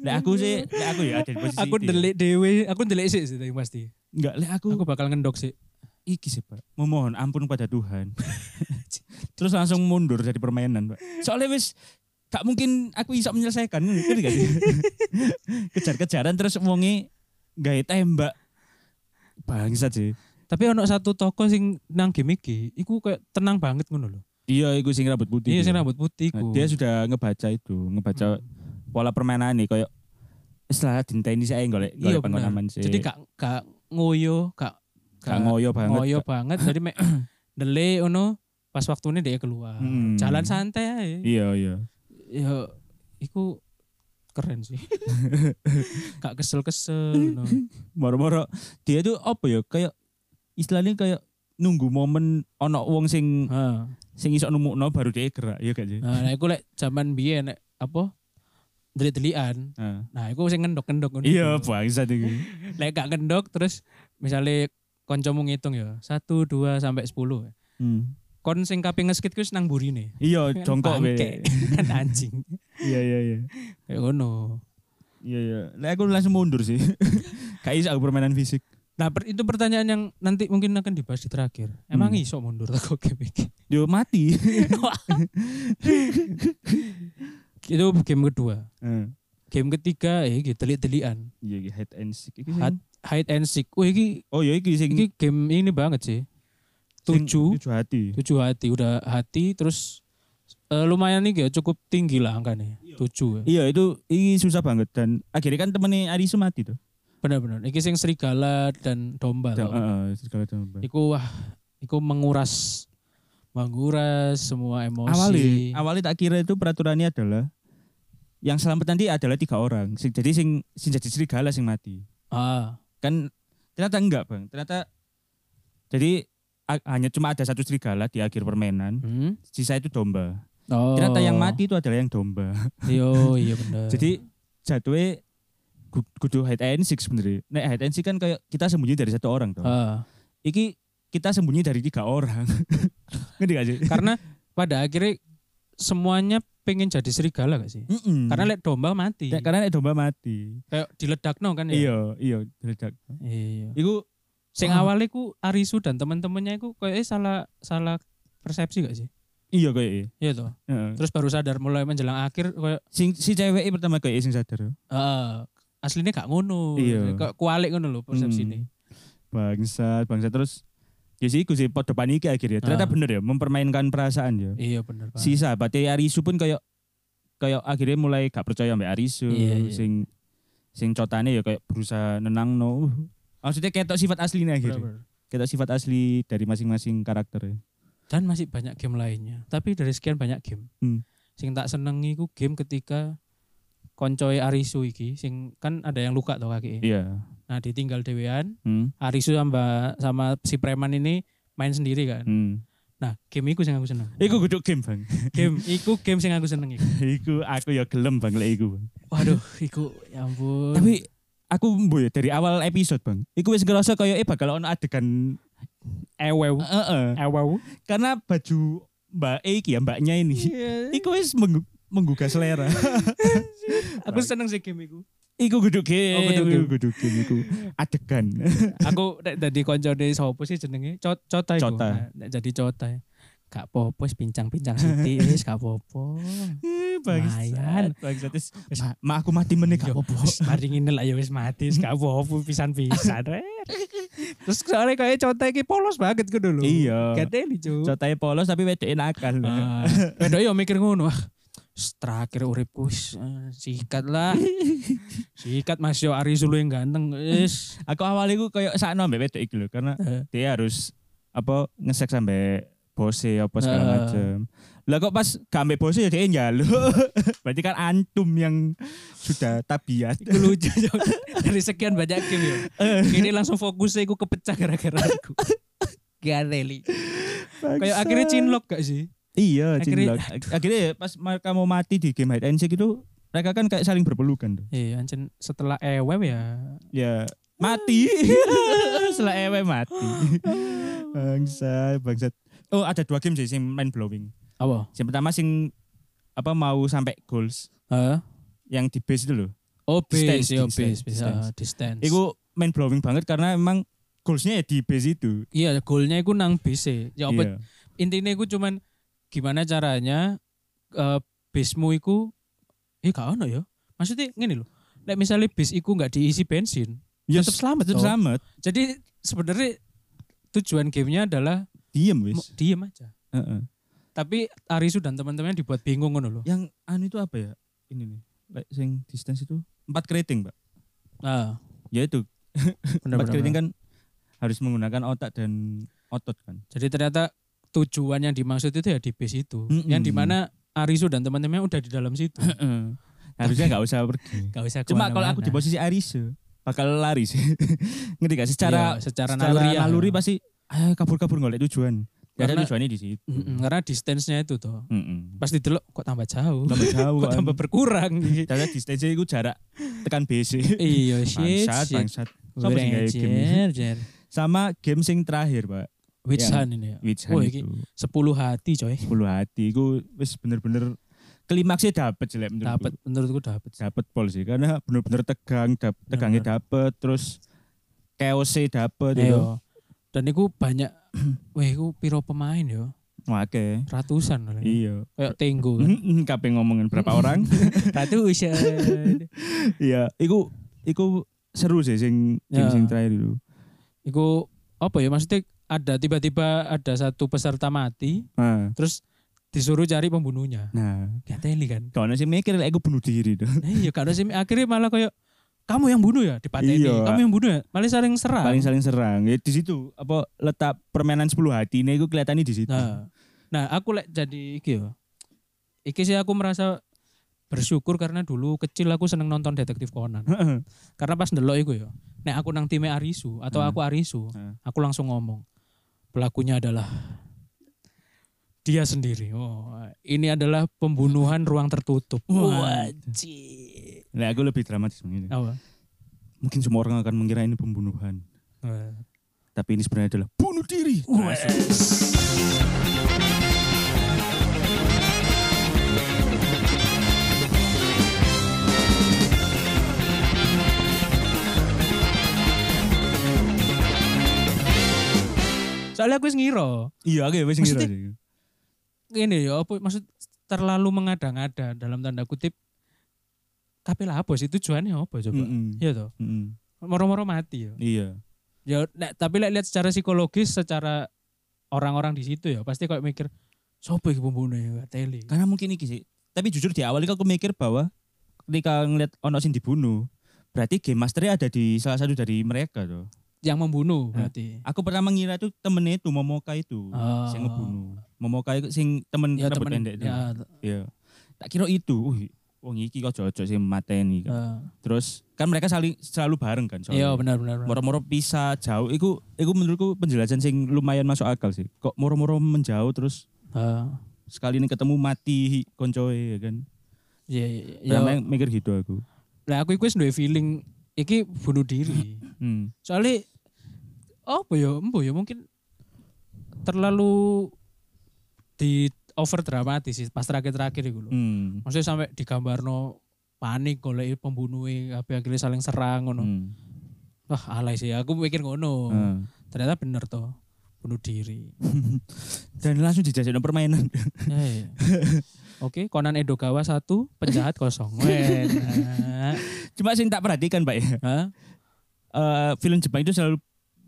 Speaker 1: Lek aku sih, lek aku ya ada di posisi.
Speaker 3: aku
Speaker 1: itu ya.
Speaker 3: delik dewe, aku delik sih sih tapi pasti.
Speaker 1: Enggak, lek aku,
Speaker 3: Aku bakal ngendok sih.
Speaker 1: iki sih, Pak. Memohon ampun pada Tuhan. Terus langsung mundur dari permainan, Pak. Soalnya wis gak mungkin aku bisa menyelesaikan, ngerti gak sih? Kejar-kejaran terus wonge gawe tembak. Bangsat sih.
Speaker 3: Tapi ono satu toko sing nang game iki, iku kayak tenang banget ngono lho.
Speaker 1: Iya, iku sing rambut putih. Hmm.
Speaker 3: Iya
Speaker 1: Dia.
Speaker 3: sing rambut putih
Speaker 1: Nah,
Speaker 3: iku.
Speaker 1: dia sudah ngebaca itu, ngebaca pola permainan nih kayak setelah dinta ini saya golek golek panggon
Speaker 3: Iya, bener.
Speaker 1: aman sih.
Speaker 3: Jadi gak gak ngoyo, gak
Speaker 1: Gak ngoyo banget.
Speaker 3: ngoyo banget. Jadi mek delay ono pas waktunya dia keluar.
Speaker 1: Hmm.
Speaker 3: Jalan santai ae.
Speaker 1: Iya, iya.
Speaker 3: Ya iku keren sih gak kesel-kesel no.
Speaker 1: moro-moro dia itu apa ya kayak istilahnya kayak nunggu momen ono wong sing
Speaker 3: Ha.
Speaker 1: sing iso nemukno baru dia gerak ya gak sih
Speaker 3: nah nah, aku lek zaman biyen nek apa delik-delikan
Speaker 1: Ah.
Speaker 3: nah aku sing ngendok-ngendok ngono.
Speaker 1: iya bangsa itu
Speaker 3: lek gak ngendok terus misalnya koncomu ngitung ya satu dua sampai sepuluh
Speaker 1: Hmm.
Speaker 3: kon sing kaping ngeskit ku nang burine
Speaker 1: iya jongkok be
Speaker 3: Bangke. kan anjing
Speaker 1: iya iya iya
Speaker 3: kayak ngono
Speaker 1: iya iya Lek aku langsung mundur sih kayak iso aku permainan fisik
Speaker 3: nah per- itu pertanyaan yang nanti mungkin akan dibahas di terakhir emang
Speaker 1: Hmm.
Speaker 3: iso mundur aku game iki?
Speaker 1: dia mati
Speaker 3: itu game kedua
Speaker 1: Eh,
Speaker 3: game ketiga eh iki delik-delikan
Speaker 1: iya iki hide and seek iki sing-
Speaker 3: Hide- hide and seek oh iki
Speaker 1: oh iya iki sing
Speaker 3: iki game ini banget sih
Speaker 1: sing-
Speaker 3: tujuh
Speaker 1: tujuh hati
Speaker 3: tujuh hati udah hati terus eh, lumayan nih ya cukup tinggi lah angkanya tujuh ya.
Speaker 1: iya itu ini susah banget dan akhirnya kan temennya Arisu mati tuh
Speaker 3: benar-benar iki sing serigala dan domba
Speaker 1: Da-
Speaker 3: tau.
Speaker 1: eh, eh, segala domba.
Speaker 3: iku wah iku menguras menguras semua emosi
Speaker 1: awalnya awalnya tak kira itu peraturannya adalah yang selamat nanti adalah tiga orang Sing- jadi sing sing jadi serigala sing mati
Speaker 3: ah
Speaker 1: kan ternyata enggak bang ternyata jadi a- hanya cuma ada satu serigala di akhir permainan
Speaker 3: hmm?
Speaker 1: sisa itu domba
Speaker 3: oh
Speaker 1: ternyata yang mati itu adalah yang domba
Speaker 3: yo iya benar
Speaker 1: jadi jadwe gu- kudu hide and seek sebenarnya nek hide and seek kan kayak kita sembunyi dari satu orang tuh
Speaker 3: ah.
Speaker 1: iki kita sembunyi dari tiga orang ngerti gak sih
Speaker 3: karena pada akhirnya semuanya pengen jadi serigala gak sih
Speaker 1: Mm-mm.
Speaker 3: karena lihat domba mati
Speaker 1: Ya, karena nek domba mati
Speaker 3: kayak diledakno kan ya
Speaker 1: iya iya diledak
Speaker 3: iya Oh.
Speaker 1: Iku
Speaker 3: sing
Speaker 1: Ah.
Speaker 3: awalnya ku Arisu dan teman-temannya ku kayak eh, salah salah persepsi gak sih
Speaker 1: iya kayak
Speaker 3: iya toh
Speaker 1: Heeh.
Speaker 3: terus baru sadar mulai menjelang akhir kayak
Speaker 1: Sing si cewek pertama kayak sing sadar.
Speaker 3: ah, aslinya gak ngono
Speaker 1: Iya.
Speaker 3: kayak kualik ngono loh persepsi ini
Speaker 1: Bangsa, bangsa terus ya sih gue sih podo panik akhirnya. Ternyata
Speaker 3: Ah.
Speaker 1: bener ya mempermainkan perasaan ya.
Speaker 3: iya bener pak
Speaker 1: Si sahabatnya Arisu pun kayak kayak akhirnya mulai gak percaya mbak Arisu
Speaker 3: Iya, iya.
Speaker 1: sing sing cotane ya kayak berusaha nenang no. Maksudnya ketok sifat aslinya akhirnya.
Speaker 3: Bener-bener.
Speaker 1: Ketok sifat asli dari masing-masing karakter.
Speaker 3: dan masih banyak game lainnya tapi dari sekian banyak game
Speaker 1: Hmm.
Speaker 3: sing tak senengi ku game ketika koncoe Arisu iki sing kan ada yang luka toh kaki
Speaker 1: Iya.
Speaker 3: nah ditinggal dewean
Speaker 1: Hmm.
Speaker 3: Arisu sama sama si preman ini main sendiri kan
Speaker 1: Hmm.
Speaker 3: nah game iku sing aku seneng
Speaker 1: Iku guduk game bang.
Speaker 3: game iku game sing aku seneng iku.
Speaker 1: iku aku ya gelem bang lek iku. Bang.
Speaker 3: waduh iku ya ampun
Speaker 1: Tapi aku mbo ya dari awal episode bang, iku wis ngerasa kayak eh bakal ono adegan
Speaker 3: ewew
Speaker 1: eh, eh.
Speaker 3: ewew
Speaker 1: karena baju mbak E iki ya mbaknya ini,
Speaker 3: Iya.
Speaker 1: iku wis menggu- menggugah selera.
Speaker 3: aku seneng sih game iku
Speaker 1: iku guduk game,
Speaker 3: Oh, guduk game.
Speaker 1: iku guduk game, iku adegan.
Speaker 3: aku nek dadi koncone sapa sih jenenge Co- cota iku
Speaker 1: Cota.
Speaker 3: Nah, nek jadi cota gak apa-apa wis pincang-pincang sithik wis gak apa-apa
Speaker 1: Eh,
Speaker 3: Lumayan.
Speaker 1: Bangsat, bangsat. Wis, Ma, ma aku mati meneh gak
Speaker 3: Yo,
Speaker 1: apa-apa.
Speaker 3: wis mari ngene lah ya wis mati wis gak apa-apa pisan-pisan terus soalnya kayak cota iki polos banget gitu lho
Speaker 1: Iya.
Speaker 3: gateli cu
Speaker 1: Cotai polos tapi wedok e nakal.
Speaker 3: Ah, wedok yo mikir ngono wah wis terakhir uripku wis, eh, sikat lah sikat mas yo Ari Sulu yang ganteng wis
Speaker 1: Aku awalnya iku kayak sakno mbek wedok iki lho karena
Speaker 3: Eh,
Speaker 1: dia harus apa ngesek sampai bose apa segala
Speaker 3: Heeh.
Speaker 1: macam. Lah kok pas gak ambek bose ya dia nyalo. Berarti kan antum yang sudah tabiat.
Speaker 3: iku lucu Jo. dari sekian banyak game yo ini langsung fokusnya aku kepecah gara-gara aku gateli kayak akhirnya cinlok gak sih
Speaker 1: Iya,
Speaker 3: Akhirnya-
Speaker 1: cinlok. Ak- Akhirnya ya, pas mereka mau mati di game hide and seek itu mereka kan kayak saling berpelukan tuh.
Speaker 3: iya ancen setelah eweb ya
Speaker 1: Ya mati. Setelah ewe mati. bangsa, bangsat. Oh, ada dua game sih sing mind blowing.
Speaker 3: apa
Speaker 1: Yang pertama sing apa mau sampai goals
Speaker 3: Heeh.
Speaker 1: yang di base itu loh.
Speaker 3: oh
Speaker 1: Distance,
Speaker 3: base Eh? yo
Speaker 1: distance,
Speaker 3: base base
Speaker 1: distance.
Speaker 3: ah, distance
Speaker 1: Iku main blowing banget karena emang goalsnya ya di base itu.
Speaker 3: iya golnya iku nang base ya apa
Speaker 1: Iya.
Speaker 3: intinya iku cuman gimana caranya eh bismu iku eh gak ono ya maksudnya gini loh Lek misalnya bis iku nggak diisi bensin
Speaker 1: Ya
Speaker 3: tetep selamat
Speaker 1: tetep
Speaker 3: toh.
Speaker 1: selamat.
Speaker 3: jadi sebenarnya tujuan gamenya adalah
Speaker 1: Diem
Speaker 3: mo-
Speaker 1: wis.
Speaker 3: diem aja
Speaker 1: Heeh.
Speaker 3: tapi Arisu dan teman-temannya dibuat bingung ngono loh
Speaker 1: Yang anu itu apa ya? Ini nih. Like, sing distance itu empat keriting, Pak.
Speaker 3: ah
Speaker 1: Ya itu.
Speaker 3: benar
Speaker 1: Empat keriting kan harus menggunakan otak dan otot kan.
Speaker 3: jadi ternyata tujuan yang dimaksud itu ya di bis itu
Speaker 1: Mm-mm.
Speaker 3: yang dimana Arisu dan teman-temannya udah di dalam situ
Speaker 1: harusnya nggak usah pergi.
Speaker 3: Gak usah
Speaker 1: Cuma kalau aku di
Speaker 3: kemana-mana.
Speaker 1: posisi Aris eh, bakal lari sih. Ngerti gak? Secara
Speaker 3: Iya, secara
Speaker 1: naluri,
Speaker 3: naluri ya.
Speaker 1: pasti ayo kabur-kabur golek tujuan. Gak ada
Speaker 3: Karena-
Speaker 1: tujuannya di situ.
Speaker 3: Mm-mm, karena distance-nya itu toh.
Speaker 1: Mm-mm.
Speaker 3: Pas didelok kok tambah jauh.
Speaker 1: Tambah jauh.
Speaker 3: kok
Speaker 1: kan.
Speaker 3: tambah berkurang.
Speaker 1: Ternyata di stage itu jarak tekan BC.
Speaker 3: iya, shit,
Speaker 1: bangsat,
Speaker 3: shit.
Speaker 1: bangsat. Sama
Speaker 3: Sama
Speaker 1: sih kayak game.
Speaker 3: Jen.
Speaker 1: Sama game sing terakhir, Pak.
Speaker 3: Which
Speaker 1: Yang-
Speaker 3: hand ini ya?
Speaker 1: Which
Speaker 3: Wah,
Speaker 1: Hand
Speaker 3: iki
Speaker 1: itu.
Speaker 3: 10 hati coy.
Speaker 1: Puluh hati iku wis bener-bener klimaksnya dapet jelek menurutku.
Speaker 3: Dapat menurutku dapat.
Speaker 1: dapat pol sih karena bener-bener tegang dap, tegangnya dapet terus chaosnya dapet gitu. itu
Speaker 3: Iya. Dan iku banyak weh iku piro pemain yo?
Speaker 1: oke
Speaker 3: Ratusan loh. ini.
Speaker 1: iya
Speaker 3: Kayak Tenggo. kan.
Speaker 1: Mm-mm, kabeh ngomongin berapa orang
Speaker 3: Ratusan.
Speaker 1: iya iku iku seru sih sing game
Speaker 3: Ya.
Speaker 1: sing terakhir itu
Speaker 3: Iku apa ya maksudnya ada tiba-tiba ada satu peserta mati
Speaker 1: nah,
Speaker 3: terus disuruh cari pembunuhnya.
Speaker 1: nah
Speaker 3: Gak teli kan.
Speaker 1: kawan sih mikir lah aku bunuh diri tuh
Speaker 3: Nah, iya karena sih akhirnya malah kayak kamu yang bunuh ya dipateni.
Speaker 1: Iya.
Speaker 3: Kamu yang bunuh ya. Malah saling serang.
Speaker 1: paling saling serang ya di situ apa letak permainan 10 hati ini aku kelihatannya di situ
Speaker 3: Nah, nah aku lek jadi iki yo. Iki sih aku merasa bersyukur karena dulu kecil aku seneng nonton detektif Conan.
Speaker 1: Heeh.
Speaker 3: Karena pas ndelok iku yo. Nek aku nang time Arisu atau
Speaker 1: Hmm.
Speaker 3: aku Arisu,
Speaker 1: Hmm.
Speaker 3: aku langsung ngomong. Pelakunya adalah dia sendiri. Oh, ini adalah pembunuhan ruang tertutup. Wajib.
Speaker 1: nah aku lebih dramatis begini.
Speaker 3: Apa?
Speaker 1: mungkin semua orang akan mengira ini pembunuhan tapi ini sebenarnya adalah bunuh diri Nah.
Speaker 3: Soalnya aku wis ngira.
Speaker 1: iya aku ya wis ngira sih.
Speaker 3: Maksudnya- Ini ya apa maksud terlalu mengada-ngada dalam tanda kutip kapela apa sih tujuannya apa coba?
Speaker 1: Mm-mm.
Speaker 3: Iya toh.
Speaker 1: Mm-mm.
Speaker 3: Moro-moro mati ya.
Speaker 1: iya
Speaker 3: Ya nek- tapi lek lihat secara psikologis secara orang-orang di situ ya pasti kayak mikir sopo iki pembunuh ya teli.
Speaker 1: Karena mungkin iki sih. Tapi jujur di awal aku mikir bahwa ketika ngeliat ono sing dibunuh, berarti game masternya ada di salah satu dari mereka tuh.
Speaker 3: Yang membunuh
Speaker 1: Nah.
Speaker 3: berarti.
Speaker 1: Aku pernah mengira itu temennya itu Momoka itu
Speaker 3: Oh.
Speaker 1: sing ngebunuh. Momoka itu sing temen
Speaker 3: Ya
Speaker 1: rambut
Speaker 3: temen
Speaker 1: pendek itu.
Speaker 3: ya,
Speaker 1: Iya. Tak kira itu. Uh, wong iki kok cocok sih mateni kan.
Speaker 3: eh,
Speaker 1: Terus kan mereka saling selalu bareng kan
Speaker 3: iya
Speaker 1: soalnya.
Speaker 3: benar benar. benar.
Speaker 1: Moro-moro pisah jauh, itu, itu menurutku penjelasan sing lumayan masuk akal sih. Kok moro-moro menjauh terus
Speaker 3: Eh,
Speaker 1: sekali ini ketemu mati koncoe ya kan.
Speaker 3: Iya iya, iya.
Speaker 1: Ya. mikir gitu aku.
Speaker 3: Lah aku iku wis duwe feeling iki bunuh diri.
Speaker 1: Hmm.
Speaker 3: Soalnya apa ya embo ya mungkin terlalu di over dramatis sih pas terakhir-terakhir itu loh.
Speaker 1: Hmm.
Speaker 3: Maksudnya sampai digambarno panik golek pembunuhnya tapi akhirnya saling serang ngono.
Speaker 1: Hmm.
Speaker 3: Wah, alay sih. Aku mikir ngono.
Speaker 1: Ah.
Speaker 3: Ternyata bener toh. Bunuh diri.
Speaker 1: Dan langsung dijajak permainan.
Speaker 3: Ya, ya. Oke, Conan Edogawa satu, penjahat kosong. Weh, enak.
Speaker 1: Cuma sing tak perhatikan Pak ya.
Speaker 3: Hah?
Speaker 1: Eh, film Jepang itu selalu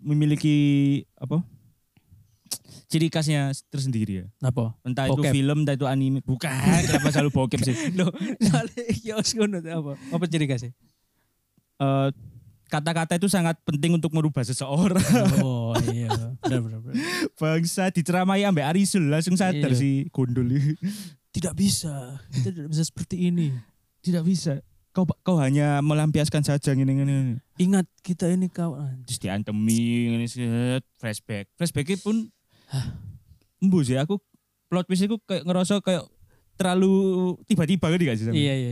Speaker 1: memiliki apa? Ciri khasnya tersendiri ya.
Speaker 3: Apa?
Speaker 1: Entah
Speaker 3: Bokep.
Speaker 1: itu film, entah itu anime. Bukan, kenapa selalu bokep sih?
Speaker 3: Loh, soalnya ya wis ngono tuh, apa? Apa ciri kasih?
Speaker 1: Eh, kata-kata itu sangat penting untuk merubah seseorang.
Speaker 3: Oh, iya. Bener, bener, bener.
Speaker 1: Bangsa diceramai ambek Arisul langsung sadar
Speaker 3: Iya.
Speaker 1: sih gondol.
Speaker 3: Tidak bisa. Kita tidak bisa seperti ini.
Speaker 1: Tidak bisa. Kau kau hanya melampiaskan saja ngene-ngene.
Speaker 3: Ingat kita ini kawan.
Speaker 1: terus diantemi ngene set, flashback flashbacknya pun embu sih aku plot twist aku kayak ngerasa kayak terlalu tiba-tiba gitu gak sih Sam?
Speaker 3: Iya, iya.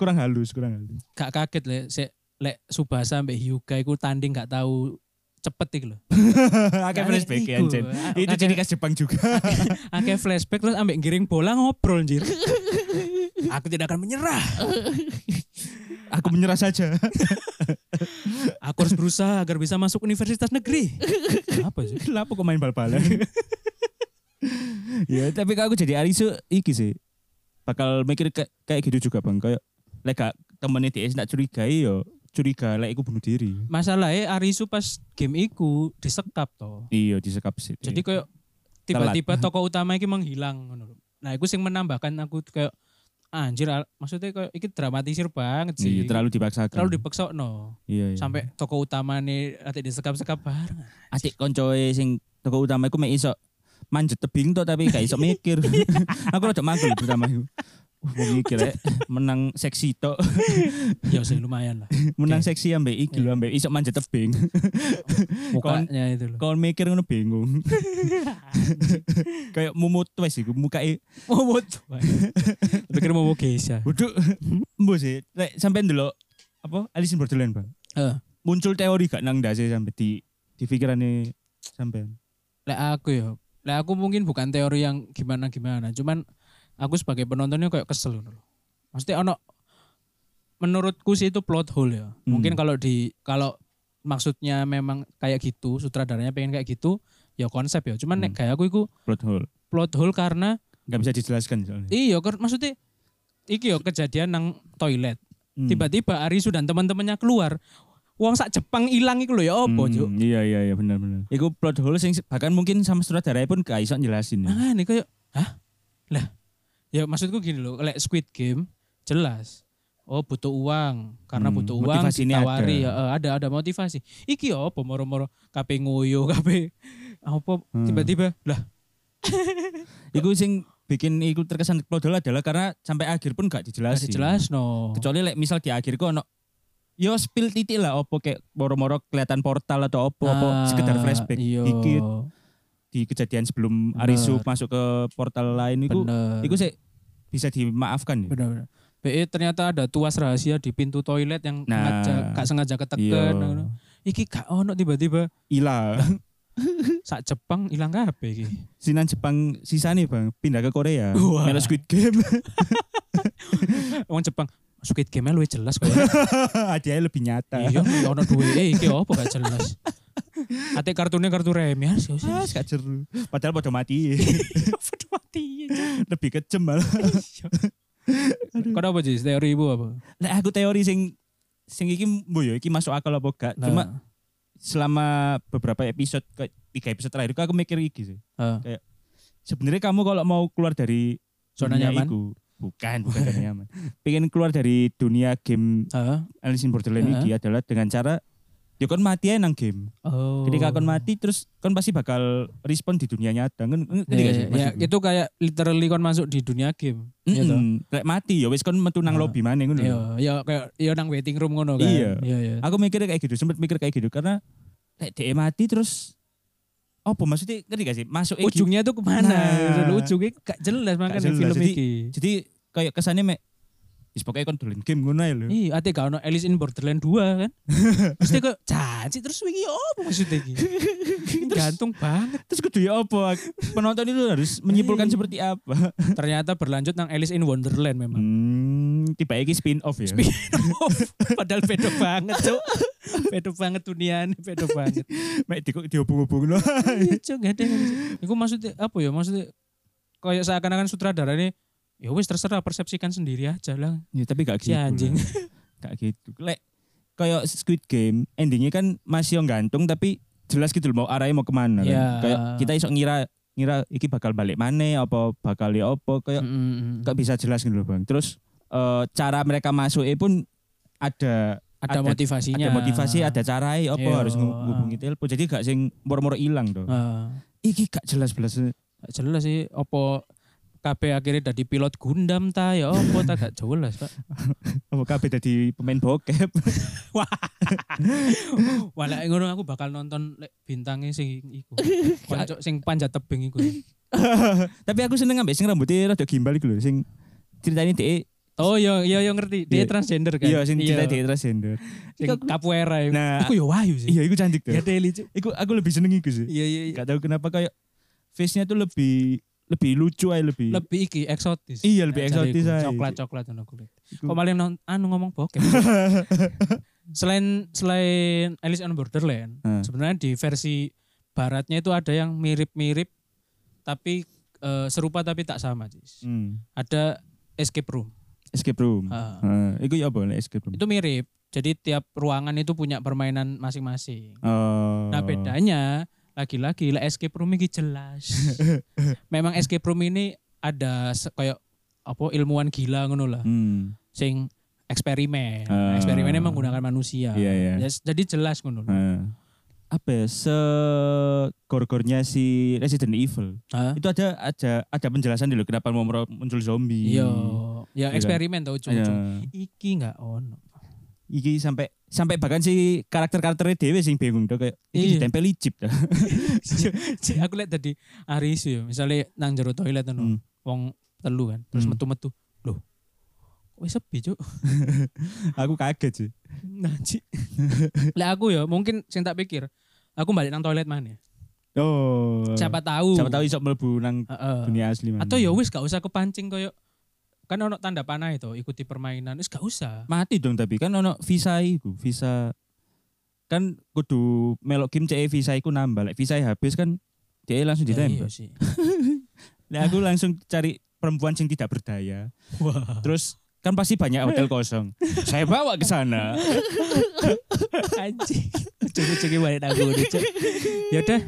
Speaker 1: kurang halus kurang halus
Speaker 3: Gak kaget lek sik lek Subasa mbek Hyuga iku tanding gak tahu cepet iki lho.
Speaker 1: akeh flashback ya
Speaker 3: iku.
Speaker 1: Jen.
Speaker 3: Ah,
Speaker 1: itu
Speaker 3: akeh-
Speaker 1: jadi khas Jepang juga
Speaker 3: Akeh flashback terus ambek giring bola ngobrol anjir. Aku tidak akan menyerah.
Speaker 1: aku menyerah saja
Speaker 3: Aku harus berusaha agar bisa masuk universitas negeri. Apa sih?
Speaker 1: kenapa kok main bal-balan ya tapi kalau aku jadi Arisu iki sih bakal mikir kayak, kayak gitu juga bang kayak lek gak temennya dia tak curigai yo curiga lek aku bunuh diri
Speaker 3: Masalahnya Arisu pas game iku disekap toh.
Speaker 1: iya disekap sih
Speaker 3: Jadi kayak tiba-tiba tokoh utama iki menghilang ngono lho. Nah, iku sing menambahkan aku kayak "Ah, anjir al- maksudnya kayak iki dramatisir banget
Speaker 1: Iya,
Speaker 3: sih.
Speaker 1: terlalu dipaksakan
Speaker 3: terlalu dipaksa no.
Speaker 1: Iya, iya.
Speaker 3: Sampai tokoh utama nih nanti disekap-sekap bareng.
Speaker 1: adik koncoe sing toko utama iku mek iso manjet tebing tok tapi gak iso mikir. aku rada mangkel pertama iku. Wong iki lek menang seksi tok,
Speaker 3: ya sih lumayan lah
Speaker 1: menang
Speaker 3: Oke. Iya.
Speaker 1: seksi ambek iki lho ambek iso manjat tebing.
Speaker 3: mukanya itu loh
Speaker 1: Kon mikir ngono bingung. Kayak mumut wes iku mukake
Speaker 3: momot pikir mau ya? Keisha
Speaker 1: Waduh, mbo sih. Lek sampean dulu apa Alice in Borderland, Bang.
Speaker 3: eh
Speaker 1: Muncul teori gak nang ndase sampe di di pikirane sampean.
Speaker 3: lek aku ya lek aku mungkin bukan teori yang gimana gimana cuman aku sebagai penontonnya kayak kesel ngono loh maksudnya ono menurutku sih itu plot hole ya mungkin kalau di kalau maksudnya memang kayak gitu sutradaranya pengen kayak gitu ya konsep ya cuman nek kayak aku itu
Speaker 1: Plot hole.
Speaker 3: plot hole karena
Speaker 1: Gak bisa dijelaskan soalnya.
Speaker 3: iya ker- maksudnya iki yo kejadian nang toilet
Speaker 1: Hmm.
Speaker 3: tiba-tiba Arisu dan teman-temannya keluar uang sak Jepang hilang iku loh ya opo
Speaker 1: Hmm,
Speaker 3: Cuk?
Speaker 1: Iya iya iya benar benar. Iku plot hole sing bahkan mungkin sama sutradaranya pun gak iso jelasin. Ya.
Speaker 3: Nah, ini kayak, hah? Lah, ya maksudku gini loh, kayak Squid Game, jelas. Oh butuh uang, karena
Speaker 1: Hmm,
Speaker 3: butuh uang
Speaker 1: motivasi ini
Speaker 3: ditawari
Speaker 1: ada.
Speaker 3: ya, eh, ada ada motivasi. Iki ya apa moro-moro kape nguyu, kape apa
Speaker 1: Hmm.
Speaker 3: tiba-tiba lah
Speaker 1: Iku sing bikin iku terkesan plot hole adalah karena sampai akhir pun gak
Speaker 3: masih
Speaker 1: dijelasin.
Speaker 3: jelas no.
Speaker 1: Kecuali like, misal di akhir kok ono Yo spill titik lah opo kayak moro-moro kelihatan portal atau opo opo
Speaker 3: Ah,
Speaker 1: sekedar flashback.
Speaker 3: Iya.
Speaker 1: Iki di kejadian sebelum
Speaker 3: Bener.
Speaker 1: Arisu masuk ke portal lain itu
Speaker 3: Bener.
Speaker 1: itu sih bisa dimaafkan ya.
Speaker 3: benar benar. BE eh, ternyata ada tuas rahasia di pintu toilet yang
Speaker 1: Nah.
Speaker 3: sengaja gak sengaja
Speaker 1: Iya.
Speaker 3: ketekan. ngono. Iki gak ono tiba-tiba
Speaker 1: Ila.
Speaker 3: sak Jepang hilang kabeh iki.
Speaker 1: Sinan Jepang sisa nih Bang, pindah ke Korea.
Speaker 3: Wah.
Speaker 1: Melo Squid Game.
Speaker 3: Wong Jepang Squid Game-nya luwih jelas kok.
Speaker 1: Hadiahnya lebih nyata.
Speaker 3: Iya, ya ono duwe. Eh, iki apa gak jelas. Ate kartunya kartu remi ya. sih, sih.
Speaker 1: Ah, gak jeru. Padahal pada mati.
Speaker 3: Waduh, mati.
Speaker 1: lebih kejem malah.
Speaker 3: Kau apa sih teori ibu apa?
Speaker 1: Nah, aku teori sing sing iki mbo yo iki masuk akal apa gak.
Speaker 3: Nah,
Speaker 1: Cuma selama beberapa episode kayak tiga episode terakhir aku mikir iki sih.
Speaker 3: eh,
Speaker 1: Sebenarnya kamu kalau mau keluar dari
Speaker 3: zona
Speaker 1: dunia Iya,
Speaker 3: nyaman.
Speaker 1: iku, bukan, bukan zona nyaman. Pengen keluar dari dunia game
Speaker 3: Heeh.
Speaker 1: Alice in Borderland
Speaker 3: Heeh.
Speaker 1: iki adalah dengan cara ya kon mati aja nang game.
Speaker 3: Oh.
Speaker 1: Ketika kon mati terus kon pasti bakal respon di dunia nyata. Ngen- ngen-
Speaker 3: Ya,
Speaker 1: ngerti gak
Speaker 3: ya,
Speaker 1: sih
Speaker 3: ya,
Speaker 1: maksudku?
Speaker 3: itu kayak literally kon masuk di dunia game. Iya toh?
Speaker 1: Mm-mm. Lek mati ya wis kon metu nang
Speaker 3: Ah.
Speaker 1: lobby maneh ngono.
Speaker 3: Iya,
Speaker 1: lho.
Speaker 3: ya kayak ya nang waiting room ngono kan.
Speaker 1: Iya.
Speaker 3: iya. iya.
Speaker 1: Aku mikir kayak gitu, sempet mikir kayak gitu karena lek dhek mati terus apa maksudnya ngerti gak sih? Masuk iki-
Speaker 3: Ujungnya tuh kemana?
Speaker 1: Nah.
Speaker 3: Ujungnya Eh, gitu. gak jelas makanya
Speaker 1: jelas,
Speaker 3: film
Speaker 1: jadi-
Speaker 3: iki.
Speaker 1: Jadi kayak kesannya mek wis pokoke kon dolen game ngono ae lho.
Speaker 3: Iya, ate gak ono Alice in Borderland 2 kan. Mesti kok janji terus wingi apa maksudnya iki? Gantung banget.
Speaker 1: Terus kudu ya apa? Penonton itu harus menyimpulkan seperti apa?
Speaker 3: Ternyata berlanjut nang Alice in Wonderland memang. Oh,
Speaker 1: Hmm, tiba iki spin off ya.
Speaker 3: Hmm. Padahal beda banget, Cuk. Beda banget dunianya, beda banget.
Speaker 1: Mek di, dihubung-hubung loh.
Speaker 3: Iya, Cuk, gak ada. Iku maksudnya apa ya? Maksudnya kayak seakan-akan sutradara ini ya wis terserah persepsikan sendiri aja lah.
Speaker 1: Ya, tapi gak
Speaker 3: Si
Speaker 1: gitu.
Speaker 3: anjing.
Speaker 1: lah. Gak gitu. Lek kayak Squid Game endingnya kan masih yang gantung tapi jelas gitu loh mau arahnya mau kemana kan.
Speaker 3: Ya.
Speaker 1: Kayak kita iso ngira ngira iki bakal balik mana apa bakal ya apa
Speaker 3: Iya.
Speaker 1: kayak
Speaker 3: Mm-mm.
Speaker 1: gak bisa jelas gitu loh Bang. Terus eh, cara mereka masuk pun ada
Speaker 3: Ada,
Speaker 1: ada-
Speaker 3: motivasinya.
Speaker 1: ada motivasi, ada carai apa
Speaker 3: Iya.
Speaker 1: harus ngub- ngubungi telepon. Jadi gak sing moro-moro hilang tuh.
Speaker 3: Ah.
Speaker 1: Iki gak jelas belas.
Speaker 3: Gak jelas sih opo KB akhirnya dari pilot Gundam ta ya opo ta gak jelas pak
Speaker 1: Apa kabeh dadi pemain bokep.
Speaker 3: wah lek ngono aku bakal nonton lek bintangnya sing iku Konco, sing panjat tebing iku
Speaker 1: tapi aku seneng ambek sing rambutnya rada gimbal iku lho sing ceritanya dhek
Speaker 3: oh iya iya iya ngerti
Speaker 1: Iya.
Speaker 3: dia transgender kan
Speaker 1: iya sing cerita dhek transgender.
Speaker 3: sing capoeira iku.
Speaker 1: Nah,
Speaker 3: iku yo wahyu sih
Speaker 1: Iya, iku cantik tuh.
Speaker 3: ya teli cuk
Speaker 1: Iku aku lebih seneng iku sih.
Speaker 3: iya iya iya.
Speaker 1: Gak tahu kenapa kayak face-nya tuh lebih lebih lucu aja lebih.
Speaker 3: lebih iki eksotis
Speaker 1: Iya, lebih
Speaker 3: Nah, cari
Speaker 1: eksotis
Speaker 3: iku.
Speaker 1: aja.
Speaker 3: coklat coklat ngono kulit
Speaker 1: Iku-
Speaker 3: kok malah non, anu ngomong bokep selain selain Alice on Borderland
Speaker 1: Hmm.
Speaker 3: sebenarnya di versi baratnya itu ada yang mirip-mirip tapi eh, serupa tapi tak sama Cis.
Speaker 1: Hmm.
Speaker 3: ada escape room
Speaker 1: Escape room.
Speaker 3: Ah.
Speaker 1: Heeh. iku ya apa nek escape room?
Speaker 3: itu mirip jadi tiap ruangan itu punya permainan masing-masing
Speaker 1: Oh.
Speaker 3: nah bedanya lagi-lagi lah escape room ini jelas memang escape room ini ada se- kayak apa ilmuwan gila ngono lah
Speaker 1: Hmm.
Speaker 3: sing eksperimen.
Speaker 1: Ah.
Speaker 3: Eksperimennya menggunakan manusia.
Speaker 1: Iya, iya.
Speaker 3: Yes, Jadi jelas ngono.
Speaker 1: Heeh. apa ya, se gor-gornya si Resident Evil.
Speaker 3: Hah?
Speaker 1: Itu ada ada ada penjelasan dulu kenapa mau mero- muncul zombie.
Speaker 3: Iya, ya
Speaker 1: kan?
Speaker 3: eksperimen tau
Speaker 1: Iya.
Speaker 3: ujung-ujung. Iki nggak ono.
Speaker 1: Iki sampai sampai bahkan si karakter-karakternya dewe sing bingung tuh kayak
Speaker 3: Iya.
Speaker 1: iki ditempel ijip dah.
Speaker 3: Cik, aku lihat tadi hari isu ya, misalnya nang jero toilet
Speaker 1: Hmm.
Speaker 3: ono wong telu kan, terus
Speaker 1: Hmm.
Speaker 3: metu-metu. Loh. Wih sepi, Cuk.
Speaker 1: Aku kaget sih.
Speaker 3: Nah, Cik. Lah aku ya, mungkin sing tak pikir, aku balik nang toilet mana? ya?
Speaker 1: Oh.
Speaker 3: Siapa tahu.
Speaker 1: Siapa tahu Ah. isok mlebu nang
Speaker 3: Heeh.
Speaker 1: dunia asli mana.
Speaker 3: Atau ya wis gak usah kepancing koyo kan ono tanda panah itu ikuti permainan wis gak usah.
Speaker 1: mati dong tapi kan ono visa iku, visa kan kudu melok game CE visa iku nambah. Lek visa habis kan dia langsung
Speaker 3: Ya, iya
Speaker 1: ditembak.
Speaker 3: sih.
Speaker 1: Lek aku langsung cari perempuan yang tidak berdaya.
Speaker 3: Wah.
Speaker 1: Terus kan pasti banyak hotel kosong. Saya bawa ke sana.
Speaker 3: Anjing. Cek-cek balik aku udah cek. Ya udah.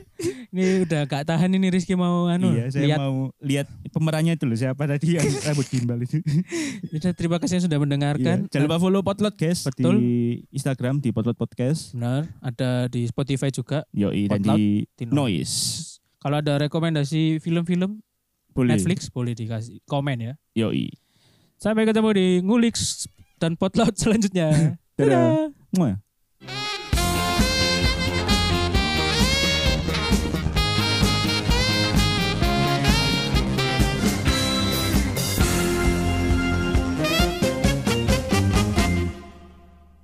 Speaker 3: Ini udah gak tahan ini Rizky mau anu.
Speaker 1: iya, saya
Speaker 3: lihat.
Speaker 1: mau lihat pemerannya itu loh siapa tadi yang rambut gimbal itu.
Speaker 3: Ya Udah terima kasih yang sudah
Speaker 1: Iya.
Speaker 3: mendengarkan.
Speaker 1: Jangan lupa follow Potlot guys
Speaker 3: Betul.
Speaker 1: di Instagram di Potlot Podcast.
Speaker 3: Benar, ada di Spotify juga.
Speaker 1: Yoi dan
Speaker 3: Potlot
Speaker 1: di
Speaker 3: di
Speaker 1: Noise.
Speaker 3: Kalau ada rekomendasi film-film
Speaker 1: Boleh.
Speaker 3: Netflix boleh dikasih komen ya.
Speaker 1: Yoi.
Speaker 3: Sampai ketemu di Ngulix dan Potlot selanjutnya.
Speaker 1: Dadah.
Speaker 3: Dadah.
Speaker 1: Muah.